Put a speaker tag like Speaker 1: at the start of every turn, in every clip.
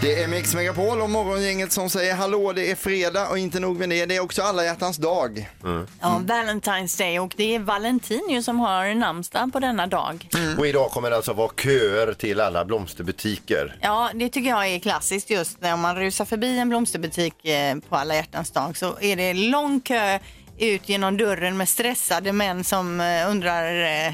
Speaker 1: Det är Mix Megapol och morgongänget som säger hallå, det är fredag och inte nog med det, det är också alla hjärtans dag.
Speaker 2: Ja, Valentine's Day och det är Valentinius som har namnsdag på denna dag.
Speaker 3: Och idag kommer det alltså vara köer till alla blomsterbutiker.
Speaker 2: Ja, det tycker jag är klassiskt just när man rusar förbi en blomsterbutik eh, på alla hjärtans dag så är det lång kö ut genom dörren med stressade män som eh, undrar eh,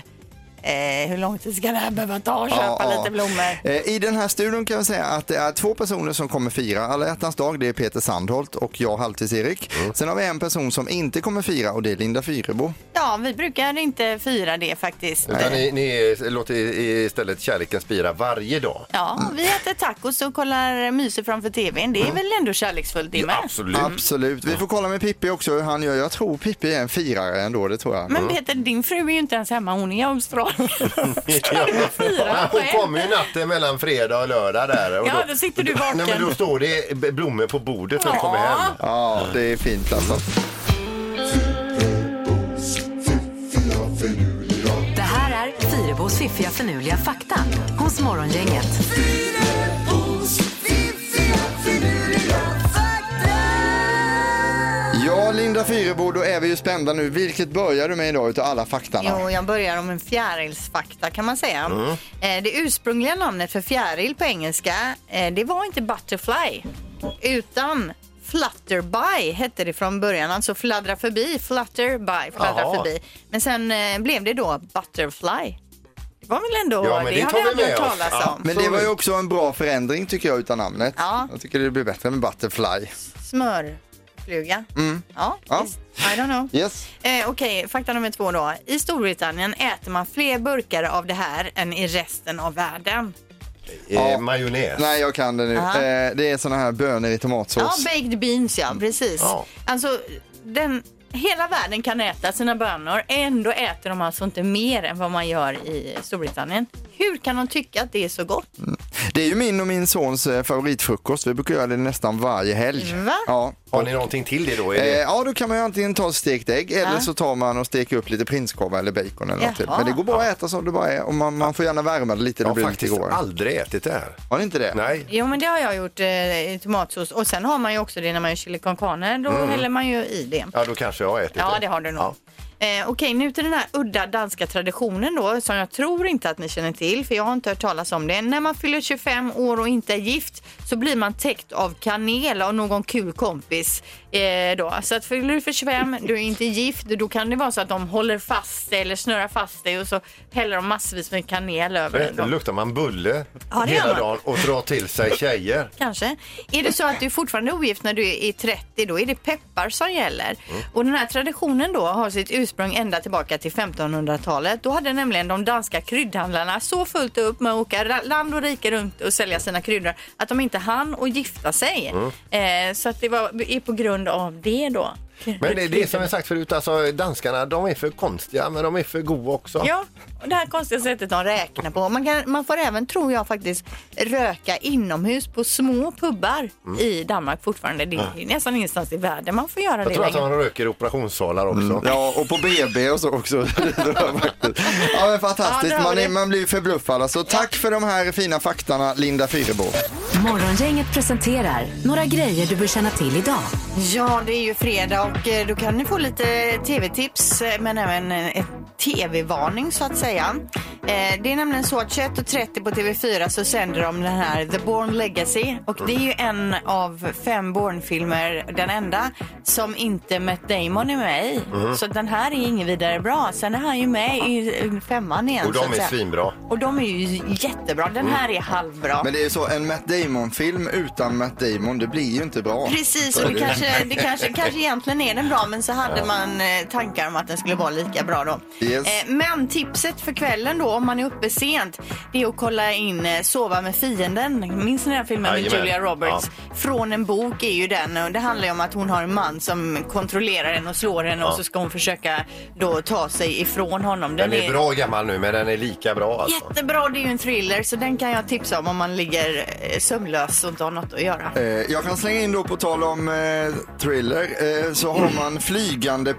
Speaker 2: eh, hur lång tid ska det här behöva ta att köpa
Speaker 1: Ja, ja.
Speaker 2: lite blommor?
Speaker 1: Eh, I den här studion kan jag säga att det är två personer som kommer fira alla hjärtans dag. Det är Peter Sandholt och jag, Halvtids-Erik. Sen har vi en person som inte kommer fira och det är Linda Fyrebo.
Speaker 2: Ja, vi brukar inte fira det faktiskt.
Speaker 3: Utan ni, ni låter istället kärleken spira varje dag.
Speaker 2: Ja, vi äter tacos och kollar myser framför tvn. Det är väl ändå kärleksfullt det med?
Speaker 3: Absolut.
Speaker 1: Absolut. Vi får kolla med Pippi också hur han gör. Jag tror Pippi är en firare ändå, det tror jag.
Speaker 2: Men Peter, din fru är ju inte ens hemma. Hon är i Australien.
Speaker 3: Mm. Ja.
Speaker 2: fira
Speaker 3: Ah, Hon
Speaker 2: själv?
Speaker 3: kommer ju natten mellan fredag och lördag där. Och
Speaker 2: Ja, då sitter du vaken.
Speaker 3: Nej, men då står det b- blommor på bordet när du kommer hem.
Speaker 1: Ja, det är fint alltså.
Speaker 4: Det här är Fyrabos fiffiga förnuliga fakta hos Morgongänget.
Speaker 1: Ja, Linda Fyrebo, då är vi ju spända nu. Vilket börjar du med idag utav alla faktarna?
Speaker 2: Jo, jag börjar om en fjärilsfakta kan man säga.
Speaker 3: Mm.
Speaker 2: Eh, Det ursprungliga namnet för fjäril på engelska, eh, det var inte butterfly, utan Flutterby hette det från början, alltså fladdra förbi, flutterby, fladdra
Speaker 3: Jaha.
Speaker 2: förbi. Men sen eh, blev det då butterfly. Det var väl ändå,
Speaker 3: Ja, men det
Speaker 2: har
Speaker 3: tar
Speaker 2: vi
Speaker 3: vi
Speaker 2: aldrig
Speaker 3: med
Speaker 2: hört
Speaker 3: oss.
Speaker 2: talas
Speaker 3: Ja.
Speaker 2: om.
Speaker 1: Men det var ju också en bra förändring tycker jag utan namnet.
Speaker 2: Ja.
Speaker 1: Jag tycker det blir bättre med Butterfly.
Speaker 2: Smörfluga.
Speaker 3: Mm.
Speaker 2: Ja,
Speaker 1: Ja.
Speaker 2: Visst. I don't know.
Speaker 1: Yes.
Speaker 2: Eh, Okej, fakta nummer två då. I Storbritannien äter man fler burkar av det här än i resten av världen.
Speaker 1: Ja.
Speaker 3: Eh, majonnäs.
Speaker 1: Nej, jag kan det nu.
Speaker 2: Aha.
Speaker 1: Eh, det är såna här bönor i
Speaker 2: Ja,
Speaker 1: tomatsås.
Speaker 2: baked beans ja, precis.
Speaker 3: Ja.
Speaker 2: Alltså, den, hela världen kan äta sina bönor, ändå äter de alltså inte mer än vad man gör i Storbritannien. Hur kan de tycka att det är så gott?
Speaker 1: det är ju min och min sons eh, favoritfrukost. Vi brukar göra det nästan varje helg.
Speaker 2: Va?
Speaker 1: Ja.
Speaker 3: Har ni någonting till det då? Är
Speaker 1: Eh,
Speaker 3: det...
Speaker 1: ja, då kan man ju antingen ta stekt ägg eller
Speaker 2: Ja.
Speaker 1: så tar man och steker upp lite prinskorv eller bacon eller något till.
Speaker 2: Jaha.
Speaker 1: Men det går bra att äta som det bara är och man, man får gärna värma det lite.
Speaker 3: Jag
Speaker 1: Det
Speaker 3: har
Speaker 1: blir lite
Speaker 3: faktiskt
Speaker 1: godare.
Speaker 3: aldrig ätit det här.
Speaker 1: Har ni inte det?
Speaker 3: Nej.
Speaker 2: Jo, men det har jag gjort eh, i tomatsås. Och sen har man ju också det när man gör chili con carne. Då häller man ju i det.
Speaker 3: Ja, då kanske jag har ätit
Speaker 2: Ja, det har du nog.
Speaker 3: Ja.
Speaker 2: Eh, Okej, nu till den här udda danska traditionen då, som jag tror inte att ni känner till, för jag har inte hört talas om det. När man fyller 25 år och inte är gift så blir man täckt av kanel av någon kul kompis. Eh, då. Så att fyller du för 25, du är inte gift, då kan det vara så att de håller fast dig eller snurrar fast dig och så häller de massvis med kanel över dig.
Speaker 3: Men
Speaker 2: då.
Speaker 3: Eh, Luktar man bulle
Speaker 2: Ja, det gör
Speaker 3: hela
Speaker 2: man.
Speaker 3: dagen och drar till sig tjejer?
Speaker 2: Kanske. Är det så att du fortfarande är ogift när du är 30, då är det peppar som gäller. Och den här traditionen då har sitt ursprung ända tillbaka till 1500-talet. Då hade nämligen de danska kryddhandlarna så fullt upp med att åka ra- land och rike runt och sälja sina kryddor att de inte hann att gifta sig. Eh, så att det var, är på grund av det då.
Speaker 3: Men det är det som jag sagt förut, alltså danskarna de är för konstiga men de är för goa också.
Speaker 2: Ja, och det här konstiga sättet de räknar på. Man, kan, man får även, tror jag faktiskt, röka inomhus på små pubbar
Speaker 3: Mm.
Speaker 2: i Danmark fortfarande. Det är nästan ingenstans i världen man får göra
Speaker 3: jag
Speaker 2: det
Speaker 3: tror att
Speaker 2: längre.
Speaker 3: de röker i operationssalar också.
Speaker 1: Mm, Ja, och på BB och så också. Det tror jag faktiskt. ja, men fantastiskt.
Speaker 2: Ja, där har
Speaker 1: Man, är,
Speaker 2: vi.
Speaker 1: man blir förbluffad. Alltså, tack för de här fina faktarna, Linda Fyrebo.
Speaker 4: Morgongänget presenterar några grejer du bör känna till idag.
Speaker 2: Ja, det är ju fredag och eh, då kan ni få lite tv-tips eh, men även eh, en tv-varning så att säga. Eh, Det är nämligen så att 21.30 på TV4 så sänder de den här The Born Legacy och det är ju en av fem Born-filmer, den enda, som inte Matt Damon är med i.
Speaker 3: Mm.
Speaker 2: Så den här är ingen vidare bra. Sen är han ju med i eh, femman igen.
Speaker 3: Och
Speaker 2: så att
Speaker 3: de är
Speaker 2: säga.
Speaker 3: svinbra.
Speaker 2: Och de är ju jättebra. Den här är halvbra.
Speaker 1: Men det är ju så, en Matt Damon-film utan Matt Damon, det blir ju inte bra.
Speaker 2: Precis, och det kanske, det kanske, kanske egentligen är den bra men så hade man eh, tankar om att den skulle vara lika bra då.
Speaker 1: Yes.
Speaker 2: Eh, Men tipset för kvällen då om man är uppe sent, det är att kolla in eh, Sova med fienden. Minns ni den här filmen med
Speaker 3: Jajamän.
Speaker 2: Julia Roberts? Från en bok är ju den. Och det handlar ju om att hon har en man som kontrollerar henne och slår henne och
Speaker 3: Ja.
Speaker 2: så ska hon försöka då ta sig ifrån honom.
Speaker 3: Den är bra gammal nu, men den är lika bra alltså.
Speaker 2: Jättebra, det är ju en thriller så den kan jag tipsa om om man ligger eh, sömnlös och inte har något att göra.
Speaker 1: Eh, Jag kan slänga in då på tal om eh, thriller eh, så har man flygande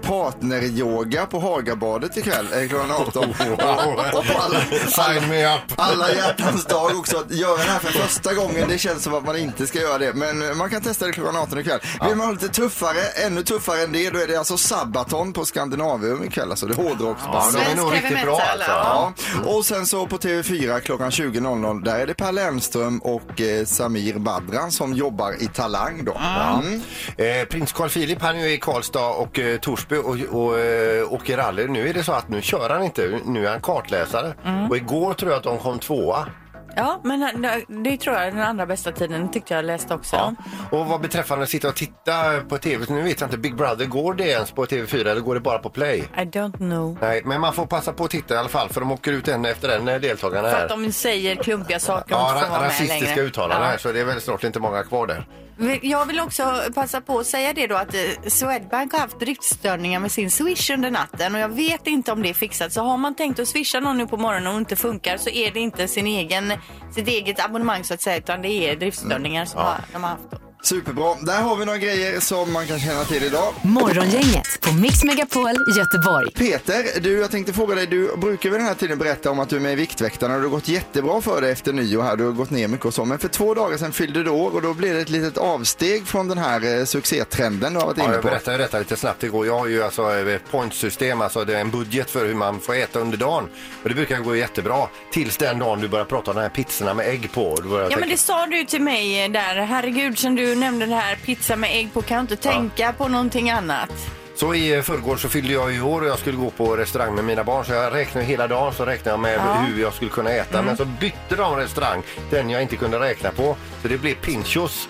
Speaker 1: partneryoga på Hagabadet ikväll eh, klockan 18. Och- och på alla,
Speaker 3: Sign me up.
Speaker 1: alla hjärtans dag också att göra det här för första gången. Det känns som att man inte ska göra det men eh, man kan testa det klockan 18 ikväll. Vill man ha lite tuffare, ännu tuffare än det då är det alltså Sabaton på Skandinavium ikväll alltså. Det är
Speaker 3: Ja,
Speaker 1: hårdrocksband.
Speaker 3: de är
Speaker 2: Svensk
Speaker 3: nog
Speaker 2: heavy
Speaker 3: riktigt bra
Speaker 2: metal,
Speaker 3: alltså.
Speaker 2: ja.
Speaker 3: Ja.
Speaker 1: Och sen så på TV4 klockan 20.00 där är det Per Lernström och eh, Samir Badran som jobbar i Talang då. Mm.
Speaker 3: Eh, prins Carl Philip han är ju i Karlstad och eh, Torsby och, och eh, åker rally. Nu är det så att nu kör han inte, nu är han kartläsare.
Speaker 2: Mm.
Speaker 3: Och igår tror jag att de kom tvåa.
Speaker 2: Ja, men han- det tror jag är den andra bästa tiden tyckte jag läste också.
Speaker 3: Ja. Och vad beträffande att sitta och titta på tv, så nu vet jag inte, Big Brother, går det ens på TV4 eller går det bara på Play?
Speaker 2: I don't know.
Speaker 3: Nej, men man får passa på att titta i alla fall för de åker ut en efter en, eh, deltagarna
Speaker 2: För
Speaker 3: här.
Speaker 2: att de säger klumpiga saker och
Speaker 3: Ja,
Speaker 2: inte får
Speaker 3: ra-
Speaker 2: vara med
Speaker 3: rasistiska
Speaker 2: längre.
Speaker 3: uttalanden
Speaker 2: Ja.
Speaker 3: här, så det är väl snart inte många kvar där.
Speaker 2: Vi- Jag vill också passa på att säga det då att eh, Swedbank har haft driftstörningar med sin Swish under natten och jag vet inte om det är fixat. Så har man tänkt att swisha någon nu på morgonen och inte funkar så är det inte sin egen, sitt eget abonnemang så att säga utan det är driftstörningar som har, de har haft. Då.
Speaker 1: Superbra. Där har vi några grejer som man kan känna till idag.
Speaker 4: Morgongänget på Mix Megapol Göteborg.
Speaker 1: Peter, du, jag tänkte fråga dig, du brukar vid den här tiden berätta om att du är med i Viktväktarna och det har gått jättebra för dig efter nyår här, du har gått ner mycket och så, men för två dagar sedan fyllde du år och då blev det ett litet avsteg från den här eh, succétrenden du har varit
Speaker 3: Ja,
Speaker 1: inne
Speaker 3: jag
Speaker 1: på.
Speaker 3: berättade ju detta lite snabbt igår. Jag har ju alltså ett pointsystem, alltså det är en budget för hur man får äta under dagen. Och det brukar gå jättebra. Tills den dagen du börjar prata om de här pizzorna med ägg på. Då börjar jag
Speaker 2: Ja men
Speaker 3: tänka,
Speaker 2: det sa du ju till mig eh, där, herregud som du nämnde det här pizza med ägg på kan jag inte tänka på någonting annat.
Speaker 3: Så i eh, förrgår så fyllde jag ju år och jag skulle gå på restaurang med mina barn. Så jag räknade hela dagen så räknade jag med hur jag skulle kunna äta. Men så bytte de restaurang, den jag inte kunde räkna på. Så det blev pinchos.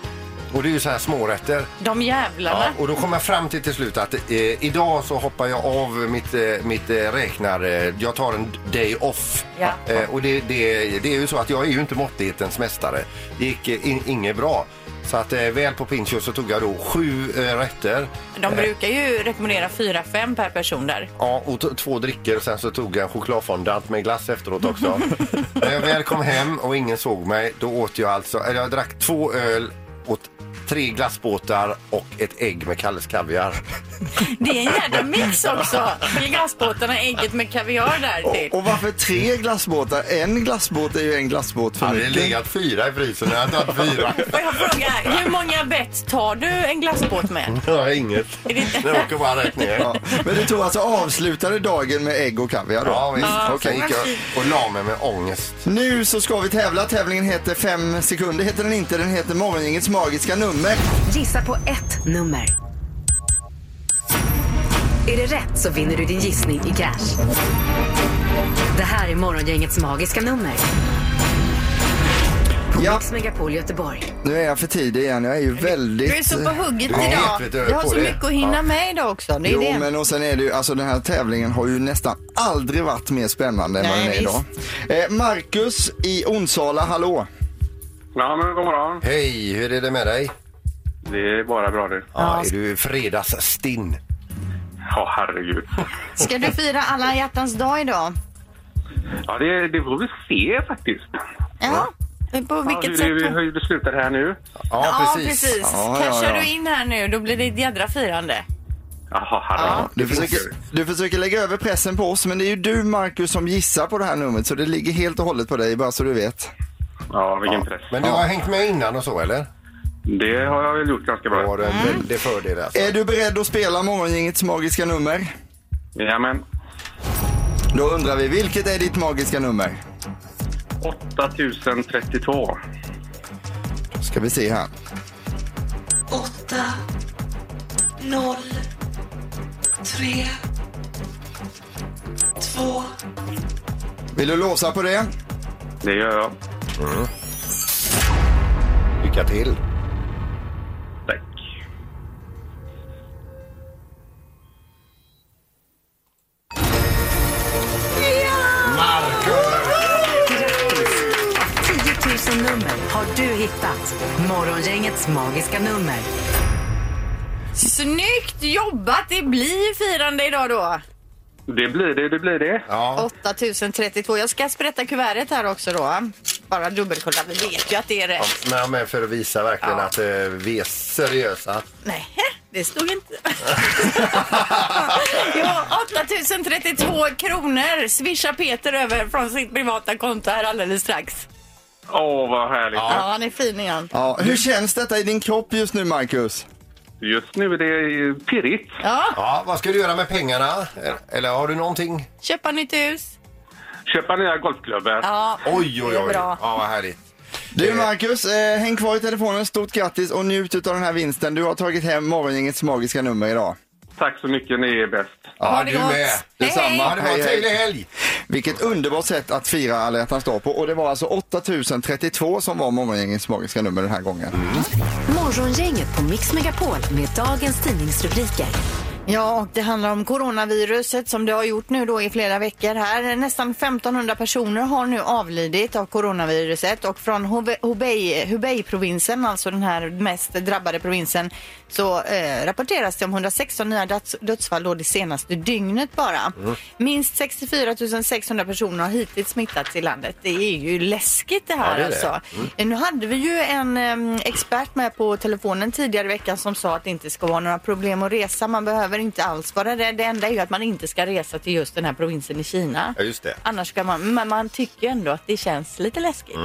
Speaker 3: Och det är ju så här smårätter.
Speaker 2: De jävlarna.
Speaker 3: Ja, och då kom jag fram till till slut att eh, idag så hoppar jag av mitt, eh, mitt eh, räknar... Eh, jag tar en day off.
Speaker 2: Ja.
Speaker 3: Eh, och det, det, det är ju så att jag är ju inte måttlighetens mästare. Det gick eh, in, inget bra. Så att eh, väl på Pinchos så tog jag då sju eh, rätter.
Speaker 2: De brukar ju rekommendera 4-5 per person där.
Speaker 3: Ja, och t- två drickor. Sen så tog jag en chokladfondant med glass efteråt också. När jag väl kom hem och ingen såg mig, då åt jag alltså... Eller jag drack två öl, åt tre glassbåtar och ett ägg med Kalles kaviar.
Speaker 2: Det är en jävla mix också. I glassbåtarna, ägget med kaviar där typ. till.
Speaker 1: Och, och varför tre glassbåtar? En glassbåt är ju en glassbåt för
Speaker 3: Hade det
Speaker 1: mycket.
Speaker 3: legat fyra i priserna jag hade tagit fyra.
Speaker 2: Får jag fråga, hur många bett tar du en glassbåt med?
Speaker 3: Ja, inget. Det åker bara rätt ner.
Speaker 1: Ja. Men du tog alltså avslutade dagen med ägg och kaviar då?
Speaker 3: Ja, visst.
Speaker 1: Mm,
Speaker 3: Sen
Speaker 1: okej.
Speaker 3: gick jag och la mig med ångest.
Speaker 1: Nu så ska vi tävla. Tävlingen heter 5 sekunder, heter den inte. Den heter Morgongängets magiska nummer.
Speaker 4: Gissa på ett nummer. Är det rätt så vinner du din gissning i cash. Det här är Morgongängets magiska nummer. På
Speaker 1: Ja.
Speaker 4: Mix Megapol Göteborg.
Speaker 1: Nu är jag för tidig igen. Jag är ju väldigt...
Speaker 2: Du är så på hugget
Speaker 3: Ja,
Speaker 2: idag.
Speaker 3: vet du,
Speaker 2: Du har
Speaker 3: på
Speaker 2: så
Speaker 3: det.
Speaker 2: mycket att hinna
Speaker 3: Ja.
Speaker 2: med idag också. Det är
Speaker 1: Jo,
Speaker 2: det.
Speaker 1: men och sen är det ju, alltså den här tävlingen har ju nästan aldrig varit mer spännande än vad
Speaker 2: Nej,
Speaker 1: den är idag. Eh, Marcus i Onsala, hallå!
Speaker 5: Ja, men god morgon.
Speaker 3: Hej, hur är det med dig?
Speaker 5: Det är bara bra det.
Speaker 3: Ja, är du fredagsstinn?
Speaker 5: Ja, herregud.
Speaker 2: Ska du fira alla hjärtans dag idag?
Speaker 5: Ja, det, det får vi se faktiskt.
Speaker 2: Ja. På vilket
Speaker 5: hur,
Speaker 2: sätt?
Speaker 5: det, hur det slutar här nu.
Speaker 2: Ja, precis.
Speaker 1: Ja, ja,
Speaker 2: Cashar
Speaker 1: ja.
Speaker 2: du in här nu, då blir det ett jädra firande.
Speaker 5: Jaha, herregud.
Speaker 1: Du försöker, du försöker lägga över pressen på oss, men det är ju du Marcus som gissar på det här numret, så det ligger helt och hållet på dig, bara så du vet.
Speaker 5: Ja, vilken press.
Speaker 3: Men du har hängt med innan och så, eller?
Speaker 5: Det har jag väl gjort ganska
Speaker 3: Då
Speaker 5: bra.
Speaker 3: har du en
Speaker 2: Mm.
Speaker 3: väldig fördel. Alltså.
Speaker 1: Är du beredd att spela Morgongängets magiska nummer?
Speaker 5: Jajamän.
Speaker 1: Då undrar vi, vilket är ditt magiska nummer?
Speaker 5: 8032.
Speaker 1: Ska vi se här.
Speaker 6: 8 0 3 2
Speaker 1: Vill du låsa på det?
Speaker 5: Det gör jag.
Speaker 3: Lycka till.
Speaker 5: Tack.
Speaker 3: Marcus!
Speaker 4: hittat Morgongängets magiska nummer.
Speaker 2: Snyggt jobbat! Det blir firande idag då.
Speaker 5: Det blir det, det blir det.
Speaker 3: Ja.
Speaker 2: 8032. Jag ska sprätta kuvertet här också då. Bara dubbelkolla. Vi vet ju att det är rätt.
Speaker 3: Men, men för att visa verkligen att eh, vi är seriösa.
Speaker 2: Nej, det stod inte. ja, 8032 kronor swishar Peter över från sitt privata konto här alldeles strax.
Speaker 5: Åh, vad härligt.
Speaker 2: Ja, han är fin igen.
Speaker 1: Ja, hur känns detta i din kropp just nu, Marcus?
Speaker 5: Just nu är det pirrigt.
Speaker 2: Ja,
Speaker 3: Ja, vad ska du göra med pengarna? Eh, Eller har du någonting?
Speaker 2: köpa nytt hus.
Speaker 5: Köpa nya golfklubbor.
Speaker 2: Ja,
Speaker 3: Oj, oj,
Speaker 2: det är
Speaker 3: oj.
Speaker 2: bra.
Speaker 3: Ja, vad härligt.
Speaker 1: Du, Marcus, eh, häng kvar i telefonen. Stort grattis och njut av den här vinsten. Du har tagit hem Morgongängets magiska nummer idag.
Speaker 5: Tack så mycket, ni är bäst.
Speaker 3: Ja,
Speaker 2: Ha det
Speaker 3: du
Speaker 2: gott.
Speaker 3: med.
Speaker 2: Hej,
Speaker 1: Detsamma.
Speaker 2: hej.
Speaker 3: Ha det bra.
Speaker 1: Hej, hej.
Speaker 3: Trevlig helg.
Speaker 1: Vilket underbart sätt att fira alla hjärtans dag på. Och det var alltså 8032 som var Morgongängets magiska nummer den här gången.
Speaker 4: Morgongänget på Mix Megapol med dagens tidningsrubriker.
Speaker 2: Ja, och det handlar om coronaviruset som det har gjort nu då i flera veckor här. Nästan 1500 personer har nu avlidit av coronaviruset och från Hubei- Hubei- Hubei-provinsen, alltså den här mest drabbade provinsen, så eh, rapporteras det om 116 nya döds- dödsfall då det senaste dygnet bara.
Speaker 3: Mm.
Speaker 2: Minst 64 600 personer har hittills smittats i landet. Det är ju läskigt det här
Speaker 3: Ja, det är det.
Speaker 2: alltså. Nu hade vi ju en em, expert med på telefonen tidigare i veckan som sa att det inte ska vara några problem att resa. Man behöver inte alls vara rädd. Det enda är ju att man inte ska resa till just den här provinsen i Kina.
Speaker 3: Ja, just det.
Speaker 2: Annars ska man, men man tycker ändå att det känns lite läskigt.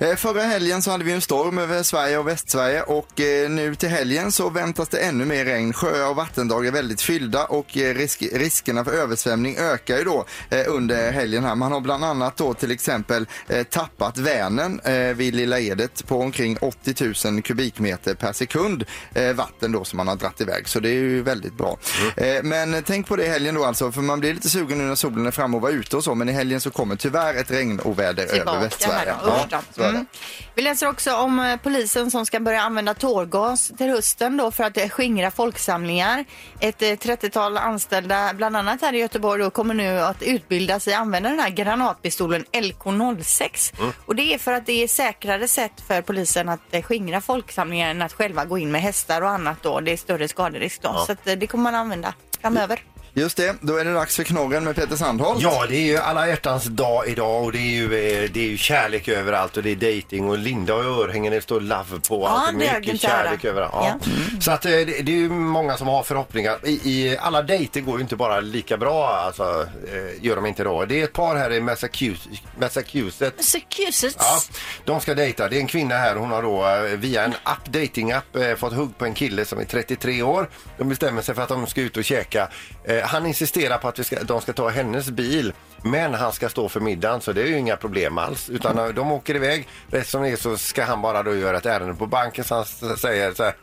Speaker 1: Eh, Förra helgen så hade vi en storm över Sverige och Västsverige och eh, nu till helgen så väntas det ännu mer regn. Sjöar och vattendrag är väldigt fyllda och eh, risk, riskerna för översvämning ökar ju då eh, under helgen här. Man har bland annat då till exempel eh, tappat Vänern eh, vid Lilla Edet på omkring 80 000 kubikmeter per sekund eh, vatten då som man har dratt iväg. Så det är ju väldigt bra. Eh, Men eh, tänk på det i helgen då alltså för man blir lite sugen nu när solen är framme och var ute och så men i helgen så kommer tyvärr ett regnoväder över Västsverige.
Speaker 2: här då. Usch då.
Speaker 1: Ja, så är det.
Speaker 2: Mm. Vi läser också om eh, polisen som ska börja använda tårgas till hösten då för att eh, skingra folksamlingar. Ett eh, 30-tal anställda, bland annat här i Göteborg, då, kommer nu att utbildas i att använda den här granatpistolen LK06.
Speaker 1: Mm.
Speaker 2: Och det är för att det är säkrare sätt för polisen att eh, skingra folksamlingar än att själva gå in med hästar och annat då. Det är större skaderisk då. Så att, eh, det kommer man använda framöver.
Speaker 1: Just det, då är det dags för knorren med Peter Sandholt.
Speaker 3: Ja, det är ju alla hjärtans dag idag och det är ju, eh, det är ju kärlek överallt och det är dating och Linda och örhängen det står love på. allt.
Speaker 2: det är
Speaker 3: mycket
Speaker 2: ögontära.
Speaker 3: kärlek överallt. Ja. Så att eh, det, det är ju många som har förhoppningar. I, i, alla dejter går ju inte bara lika bra, alltså, eh, gör de inte då. Det är ett par här i Massachusetts, Massachusetts
Speaker 2: Massachusetts.
Speaker 3: Ja, de ska dejta. Det är en kvinna här. Hon har då eh, via en app, dating-app eh, fått hugg på en kille som är 33 år. De bestämmer sig för att de ska ut och käka. Eh, Han insisterar på att vi ska, de ska ta hennes bil. Men han ska stå för middagen så det är ju inga problem alls. Utan eh, de åker iväg. Rätt som det är så ska han bara då göra ett ärende på banken så han s- säger så här.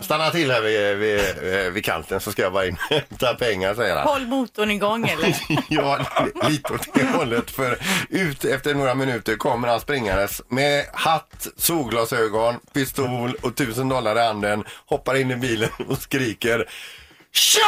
Speaker 3: Stanna till här vid, vid, eh, vid kanten så ska jag bara in och hämta pengar säger han.
Speaker 2: Håll motorn igång eller?
Speaker 3: Ja, li- lite åt det hållet. För ut efter några minuter kommer han springandes med hatt, solglasögon, pistol och tusen dollar i handen. Hoppar in i bilen och skriker KÖR!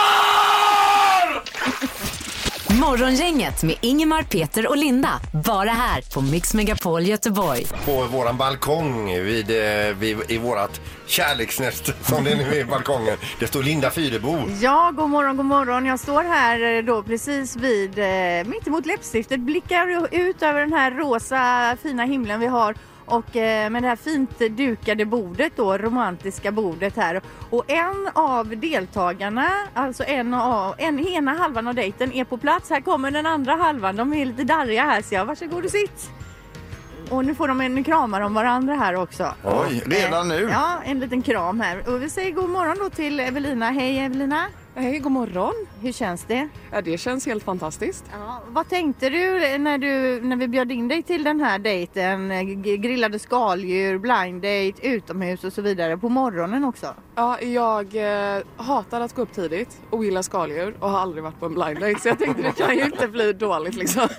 Speaker 4: Morgongänget med Ingemar, Peter och Linda. Bara här på Mix Megapol Göteborg.
Speaker 3: På våran balkong vid, eh, vid, i vårat kärleksnäst som det nu är balkongen. Det står Linda Fyrebo.
Speaker 7: Ja, god morgon, god morgon. Jag står här eh, då precis vid, eh, mitt emot läppstiftet, blickar ut över den här rosa fina himlen vi har och eh, med det här fint dukade bordet då, romantiska bordet här. Och en av deltagarna, alltså en av, en, ena halvan av dejten är på plats. Här kommer den andra halvan, de är lite darriga här så jag, varsågod och sitt. Och nu får de en, nu kramar de varandra här också.
Speaker 1: Oj, redan nu?
Speaker 7: Ja, en liten kram här. Och vi säger god morgon då till Evelina. Hej Evelina!
Speaker 8: Hej, god morgon.
Speaker 7: Hur känns det?
Speaker 8: Ja, det känns helt fantastiskt.
Speaker 7: Ja, vad tänkte du när, du när vi bjöd in dig till den här dejten? G- Grillade skaldjur, blind date, utomhus och så vidare på morgonen också.
Speaker 8: Ja, jag eh, hatar att gå upp tidigt, ogillar skaldjur och har aldrig varit på en blind date så jag tänkte det kan ju inte bli dåligt liksom.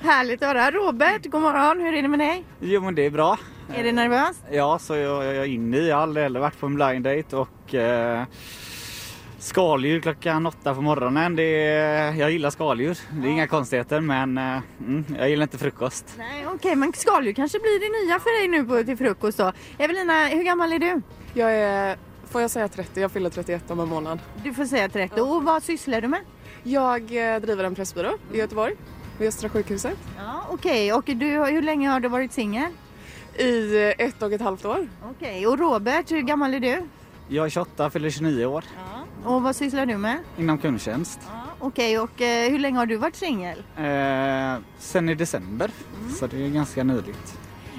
Speaker 7: Härligt att höra. Robert, god morgon. Hur är det med dig?
Speaker 9: Jo, men det är bra.
Speaker 7: Är du nervös?
Speaker 9: Ja, så jag, jag är inne i. Jag har aldrig heller varit på en blind date och eh,
Speaker 10: Skaldjur klockan åtta på morgonen. Det är, jag gillar skaldjur. Det är inga konstigheter men eh, mm, jag gillar inte frukost.
Speaker 2: Nej, Okej, men skaldjur kanske blir det nya för dig nu på, till frukost då. Evelina, hur gammal är du?
Speaker 8: Jag är, får jag säga 30? Jag fyller 31 om en månad.
Speaker 2: Du får säga 30. Och vad sysslar du med? Mm.
Speaker 8: Jag eh, driver en pressbyrå i Göteborg, vid Östra sjukhuset.
Speaker 2: Ja, Okej, och du, har- hur länge har du varit singel?
Speaker 8: I eh, ett och ett halvt år.
Speaker 2: Okej, och Robert, hur gammal är du?
Speaker 10: Jag är 28, fyller 29 år
Speaker 2: Och vad sysslar du med?
Speaker 10: inom kundtjänst.
Speaker 2: Okej, och eh, hur länge har du varit singel? Mm.
Speaker 10: Eh, sen i december, så det är ganska nyligt.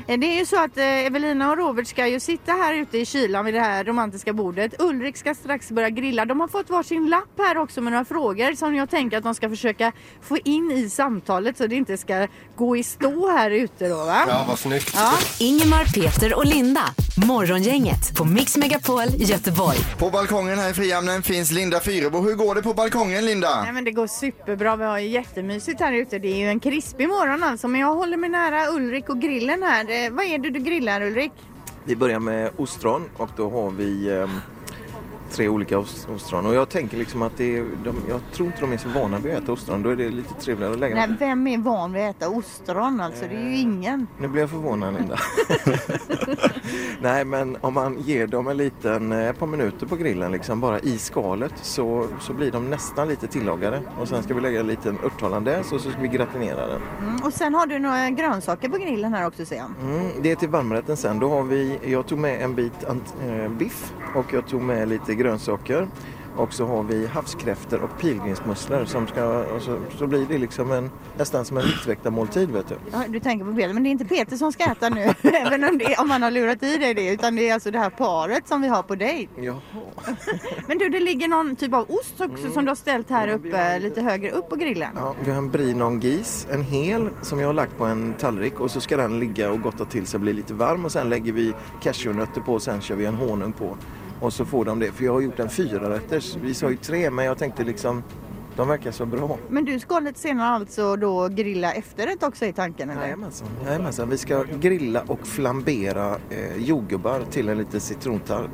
Speaker 2: Eh, Det är ju så att eh, Evelina och Robert ska ju sitta här ute i kylan vid det här romantiska bordet. Ulrik ska strax börja grilla. De har fått varsin lapp här också med några frågor som jag tänker att de ska försöka få in i samtalet så det inte ska gå i stå här ute då va?
Speaker 3: Ja, vad snyggt.
Speaker 4: Ingemar, Peter och Linda. Morgongänget på Mix Megapol Göteborg.
Speaker 1: På balkongen här i Frihamnen finns Linda Fyrebo. Hur går det på balkongen Linda?
Speaker 2: Nej men det går superbra. Vi har ju jättemysigt här ute. Det är ju en krispig morgon alltså. Men jag håller mig nära Ulrik och grillen här. Eh, Vad är det du grillar Ulrik?
Speaker 11: Vi börjar med ostron och då har vi ehm, tre olika os- ostron. Och jag tänker liksom att det är, de, jag tror inte de är så vana vid att äta ostron. Då är det lite trevligare att lägga
Speaker 2: Nej,
Speaker 11: dem.
Speaker 2: vem är van vid att äta ostron alltså? Det är ju
Speaker 11: Eh.
Speaker 2: ingen.
Speaker 11: Nu blir jag förvånad Linda. Nej men om man ger dem en liten, eh, ett par minuter på grillen liksom bara i skalet så, så blir de nästan lite tillagade. Och sen ska vi lägga en liten örthollandaise och så ska vi gratinera den.
Speaker 2: Mm. Och sen har du några grönsaker på grillen här också ser jag.
Speaker 11: Mm, det är till varmrätten sen. Då har vi, jag tog med en bit ant, eh, biff och jag tog med lite grönsaker. Och så har vi havskräftor och pilgrimsmusslor som ska, och så, så blir det liksom en, nästan som en viktväktarmåltid vet du.
Speaker 2: Ja, du tänker på Peter, men det är inte Peter som ska äta nu, även om, det, om han har lurat i dig det, utan det är alltså det här paret som vi har på dig.
Speaker 11: Ja.
Speaker 2: Men du, det ligger någon typ av ost också
Speaker 11: Mm.
Speaker 2: som du har ställt här uppe, lite högre upp på grillen.
Speaker 11: Ja, vi har en brinon gris, en hel, som jag har lagt på en tallrik och så ska den ligga och gotta till sig och bli lite varm och sen lägger vi cashewnötter på och sen kör vi en honung på. Och så får de det, för jag har gjort en fyra Vi sa ju tre men jag tänkte liksom, de verkar så bra.
Speaker 2: Men du ska lite senare alltså då grilla efterrätt också i tanken eller?
Speaker 11: Jajamensan. Jajamensan, vi ska grilla och flambera eh, jordgubbar till en liten citrontart.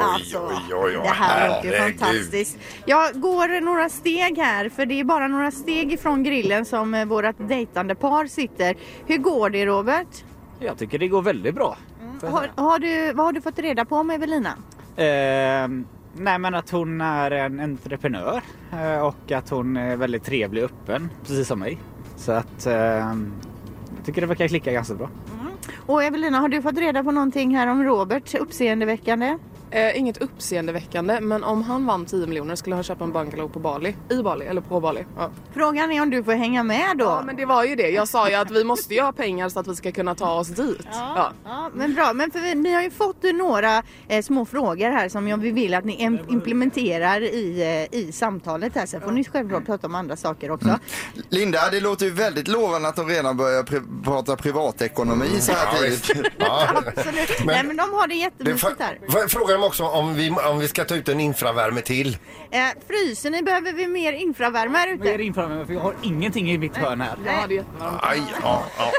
Speaker 2: Alltså,
Speaker 11: oj, oj,
Speaker 2: det här låter ju fantastiskt. Jag går några steg här, för det är bara några steg ifrån grillen som eh, vårat dejtande par sitter. Hur går det Robert? Mm.
Speaker 10: Jag tycker det går väldigt bra.
Speaker 2: Har, har du, vad har du fått reda på om Evelina?
Speaker 10: Ehm, nej men att hon är en entreprenör eh, och att hon är väldigt trevlig och öppen, precis som mig. Så att ehm, jag tycker det verkar klicka ganska bra.
Speaker 2: Och Evelina, har du fått reda på någonting här om Robert? Uppseendeväckande?
Speaker 8: Eh, inget uppseendeväckande, men om han vann 10 miljoner skulle han köpa en bungalow på Bali. I Bali, eller på Bali. Ja.
Speaker 2: Frågan är om du får hänga med då?
Speaker 8: Ja, men det var ju det. Jag sa ju att vi måste ju ha pengar så att vi ska kunna ta oss dit. Ja.
Speaker 2: Ja, men bra. Men för vi, ni har ju fått några eh, små frågor här som jag, vi vill att ni em- implementerar i, eh, i samtalet här. Sen får ni självklart prata om andra saker också.
Speaker 1: Linda, det låter ju väldigt lovande att de redan börjar pri- prata privatekonomi så här tidigt.
Speaker 2: Absolut. Nej, men de har det
Speaker 3: Det
Speaker 2: jättemysigt här.
Speaker 3: fa- Frågan var också om vi, om vi ska ta ut en infravärme till.
Speaker 2: Eh, fryser ni? Behöver vi mer infravärme här ute?
Speaker 10: Mer infravärme för jag har ingenting i mitt hörn här.
Speaker 2: Ja, det är
Speaker 3: Aj, ja, ja.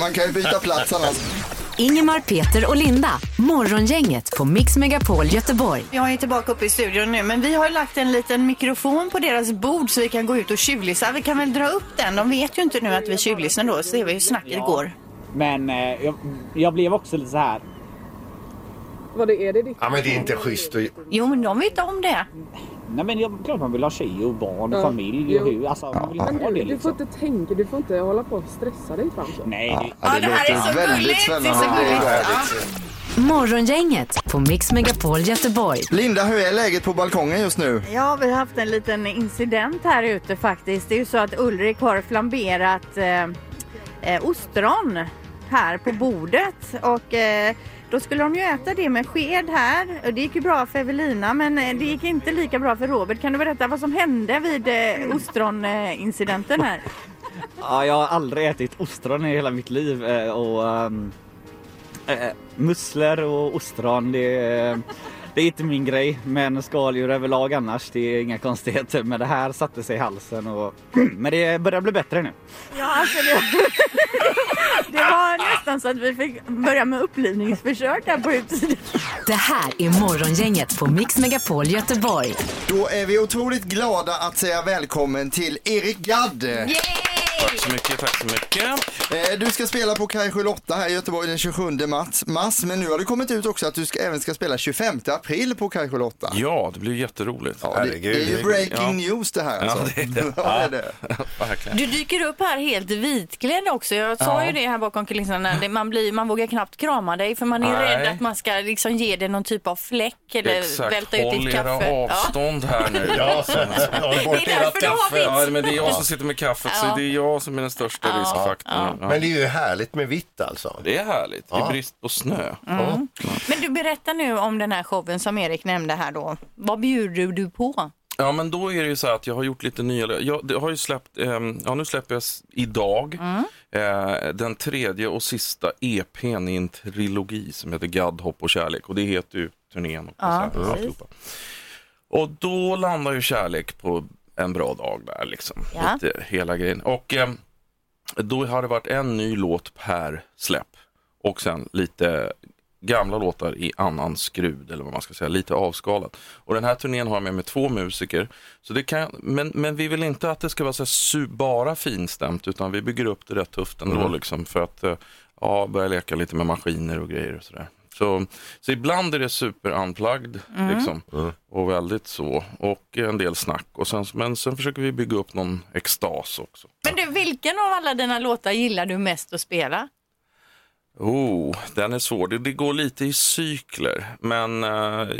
Speaker 1: Man kan ju byta plats annars.
Speaker 4: Ingemar, Peter och Linda. Morgongänget på Mix Megapol Göteborg.
Speaker 12: Jag är tillbaka uppe i studion nu, men vi har lagt en liten mikrofon på deras bord så vi kan gå ut och tjuvlyssna. Vi kan väl dra upp den? De vet ju inte nu att vi tjuvlyssnar då, så det var ju snacket
Speaker 10: Ja.
Speaker 12: går.
Speaker 10: Men eh, jag, jag blev också lite så här.
Speaker 8: Vad det är det ditt?
Speaker 3: Ja, men det är inte schysst. att-
Speaker 12: Jo, men de vet om det.
Speaker 10: Nej men jag, klart man vill ha tjej och barn och
Speaker 8: Ja.
Speaker 10: familj och
Speaker 8: Jo.
Speaker 10: hur. Alltså man vill ha det
Speaker 8: Du
Speaker 10: liksom.
Speaker 8: får inte tänka, du får inte hålla på och stressa dig fram så.
Speaker 10: Nej,
Speaker 4: Ja, det här är så
Speaker 1: väldigt
Speaker 4: gulligt.
Speaker 1: spännande.
Speaker 4: Det är så
Speaker 1: Det är
Speaker 4: gulligt.
Speaker 1: härligt.
Speaker 4: Morgongänget på Mix Megapol Göteborg.
Speaker 1: Linda, hur är läget på balkongen just nu?
Speaker 2: Ja, vi har haft en liten incident här ute faktiskt. Det är ju så att Ulrik har flamberat eh, eh, ostron här på bordet och eh, då skulle de ju äta det med sked här. Och Det gick ju bra för Evelina men eh, det gick inte lika bra för Robert. Kan du berätta vad som hände vid eh, ostronincidenten här?
Speaker 10: Ja, jag har aldrig ätit ostron i hela mitt liv eh, och ehm, eh, musslor och ostron det, eh, det är inte min grej. Men skaldjur överlag annars, det är inga konstigheter. Men det här satte sig i halsen och... Men det börjar bli bättre nu.
Speaker 13: Ja, alltså det, det var nästan så att vi fick börja med upplivningsförsök här på utsidan.
Speaker 4: Det här är Morgongänget på Mix Megapol Göteborg.
Speaker 1: Då är vi otroligt glada att säga välkommen till Erik Gadd.
Speaker 14: Tack så mycket, tack så mycket.
Speaker 1: Eh, Du ska spela på Kaj 8 här i Göteborg den 27 mars, mars, men nu har det kommit ut också att du ska, även ska spela 25 april på Kaj 8.
Speaker 14: Ja, det blir jätteroligt. Ja,
Speaker 1: Det är ju breaking news det här alltså.
Speaker 14: Ja, det är det.
Speaker 1: Ja, det är
Speaker 14: Ja, verkligen.
Speaker 2: Du dyker upp här helt vitklädd också. Jag sa
Speaker 14: Ja.
Speaker 2: ju det här bakom kulisserna. Det- Man, blir, man vågar knappt krama dig för man är
Speaker 14: Nej.
Speaker 2: rädd att man ska liksom ge dig någon typ av fläck eller välta ut ditt kaffe.
Speaker 14: Håll era avstånd här nu.
Speaker 2: Ja, så-
Speaker 3: håll bort Det är ert därför du har kaffe. vitt.
Speaker 14: Ja, men det är jag som sitter med kaffet
Speaker 2: Ja.
Speaker 14: så det är jag som är den största
Speaker 2: Ja.
Speaker 14: riskfaktorn.
Speaker 2: Ja.
Speaker 3: Men det är ju härligt med vitt alltså.
Speaker 14: Det är härligt,
Speaker 3: Ja.
Speaker 14: i brist på snö.
Speaker 2: Mm. Men du berättar nu om den här showen som Erik nämnde här då. Vad bjuder du på?
Speaker 14: Ja, men då är det ju så här att jag har gjort lite nya... Jag det har ju släppt, ehm, ja nu släpper jag s- idag eh, den tredje och sista EPn i en trilogi som heter Gadd, hopp och kärlek och det heter ju turnén och
Speaker 2: Ja,
Speaker 14: konserten och
Speaker 2: precis.
Speaker 14: alltihopa. Och då landar ju kärlek på en bra dag där liksom.
Speaker 2: Ja.
Speaker 14: Lite, hela grejen. Och ehm, då har det varit en ny låt per släpp och sen lite gamla låtar i annan skrud eller vad man ska säga, lite avskalat. Och den här turnén har jag med mig två musiker. Så det kan, men, men vi vill inte att det ska vara så här su- bara finstämt utan vi bygger upp det rätt tufft ändå
Speaker 3: Mm.
Speaker 14: liksom för att eh, ja, börja leka lite med maskiner och grejer och sådär. Så, så ibland är det super unplugged
Speaker 3: Mm.
Speaker 14: liksom, och väldigt så och en del snack och sen, men sen försöker vi bygga upp någon extas också.
Speaker 2: Men du, vilken av alla dina låtar gillar du mest att spela?
Speaker 14: Oh, den är svår. Det, det går lite i cykler. Men eh,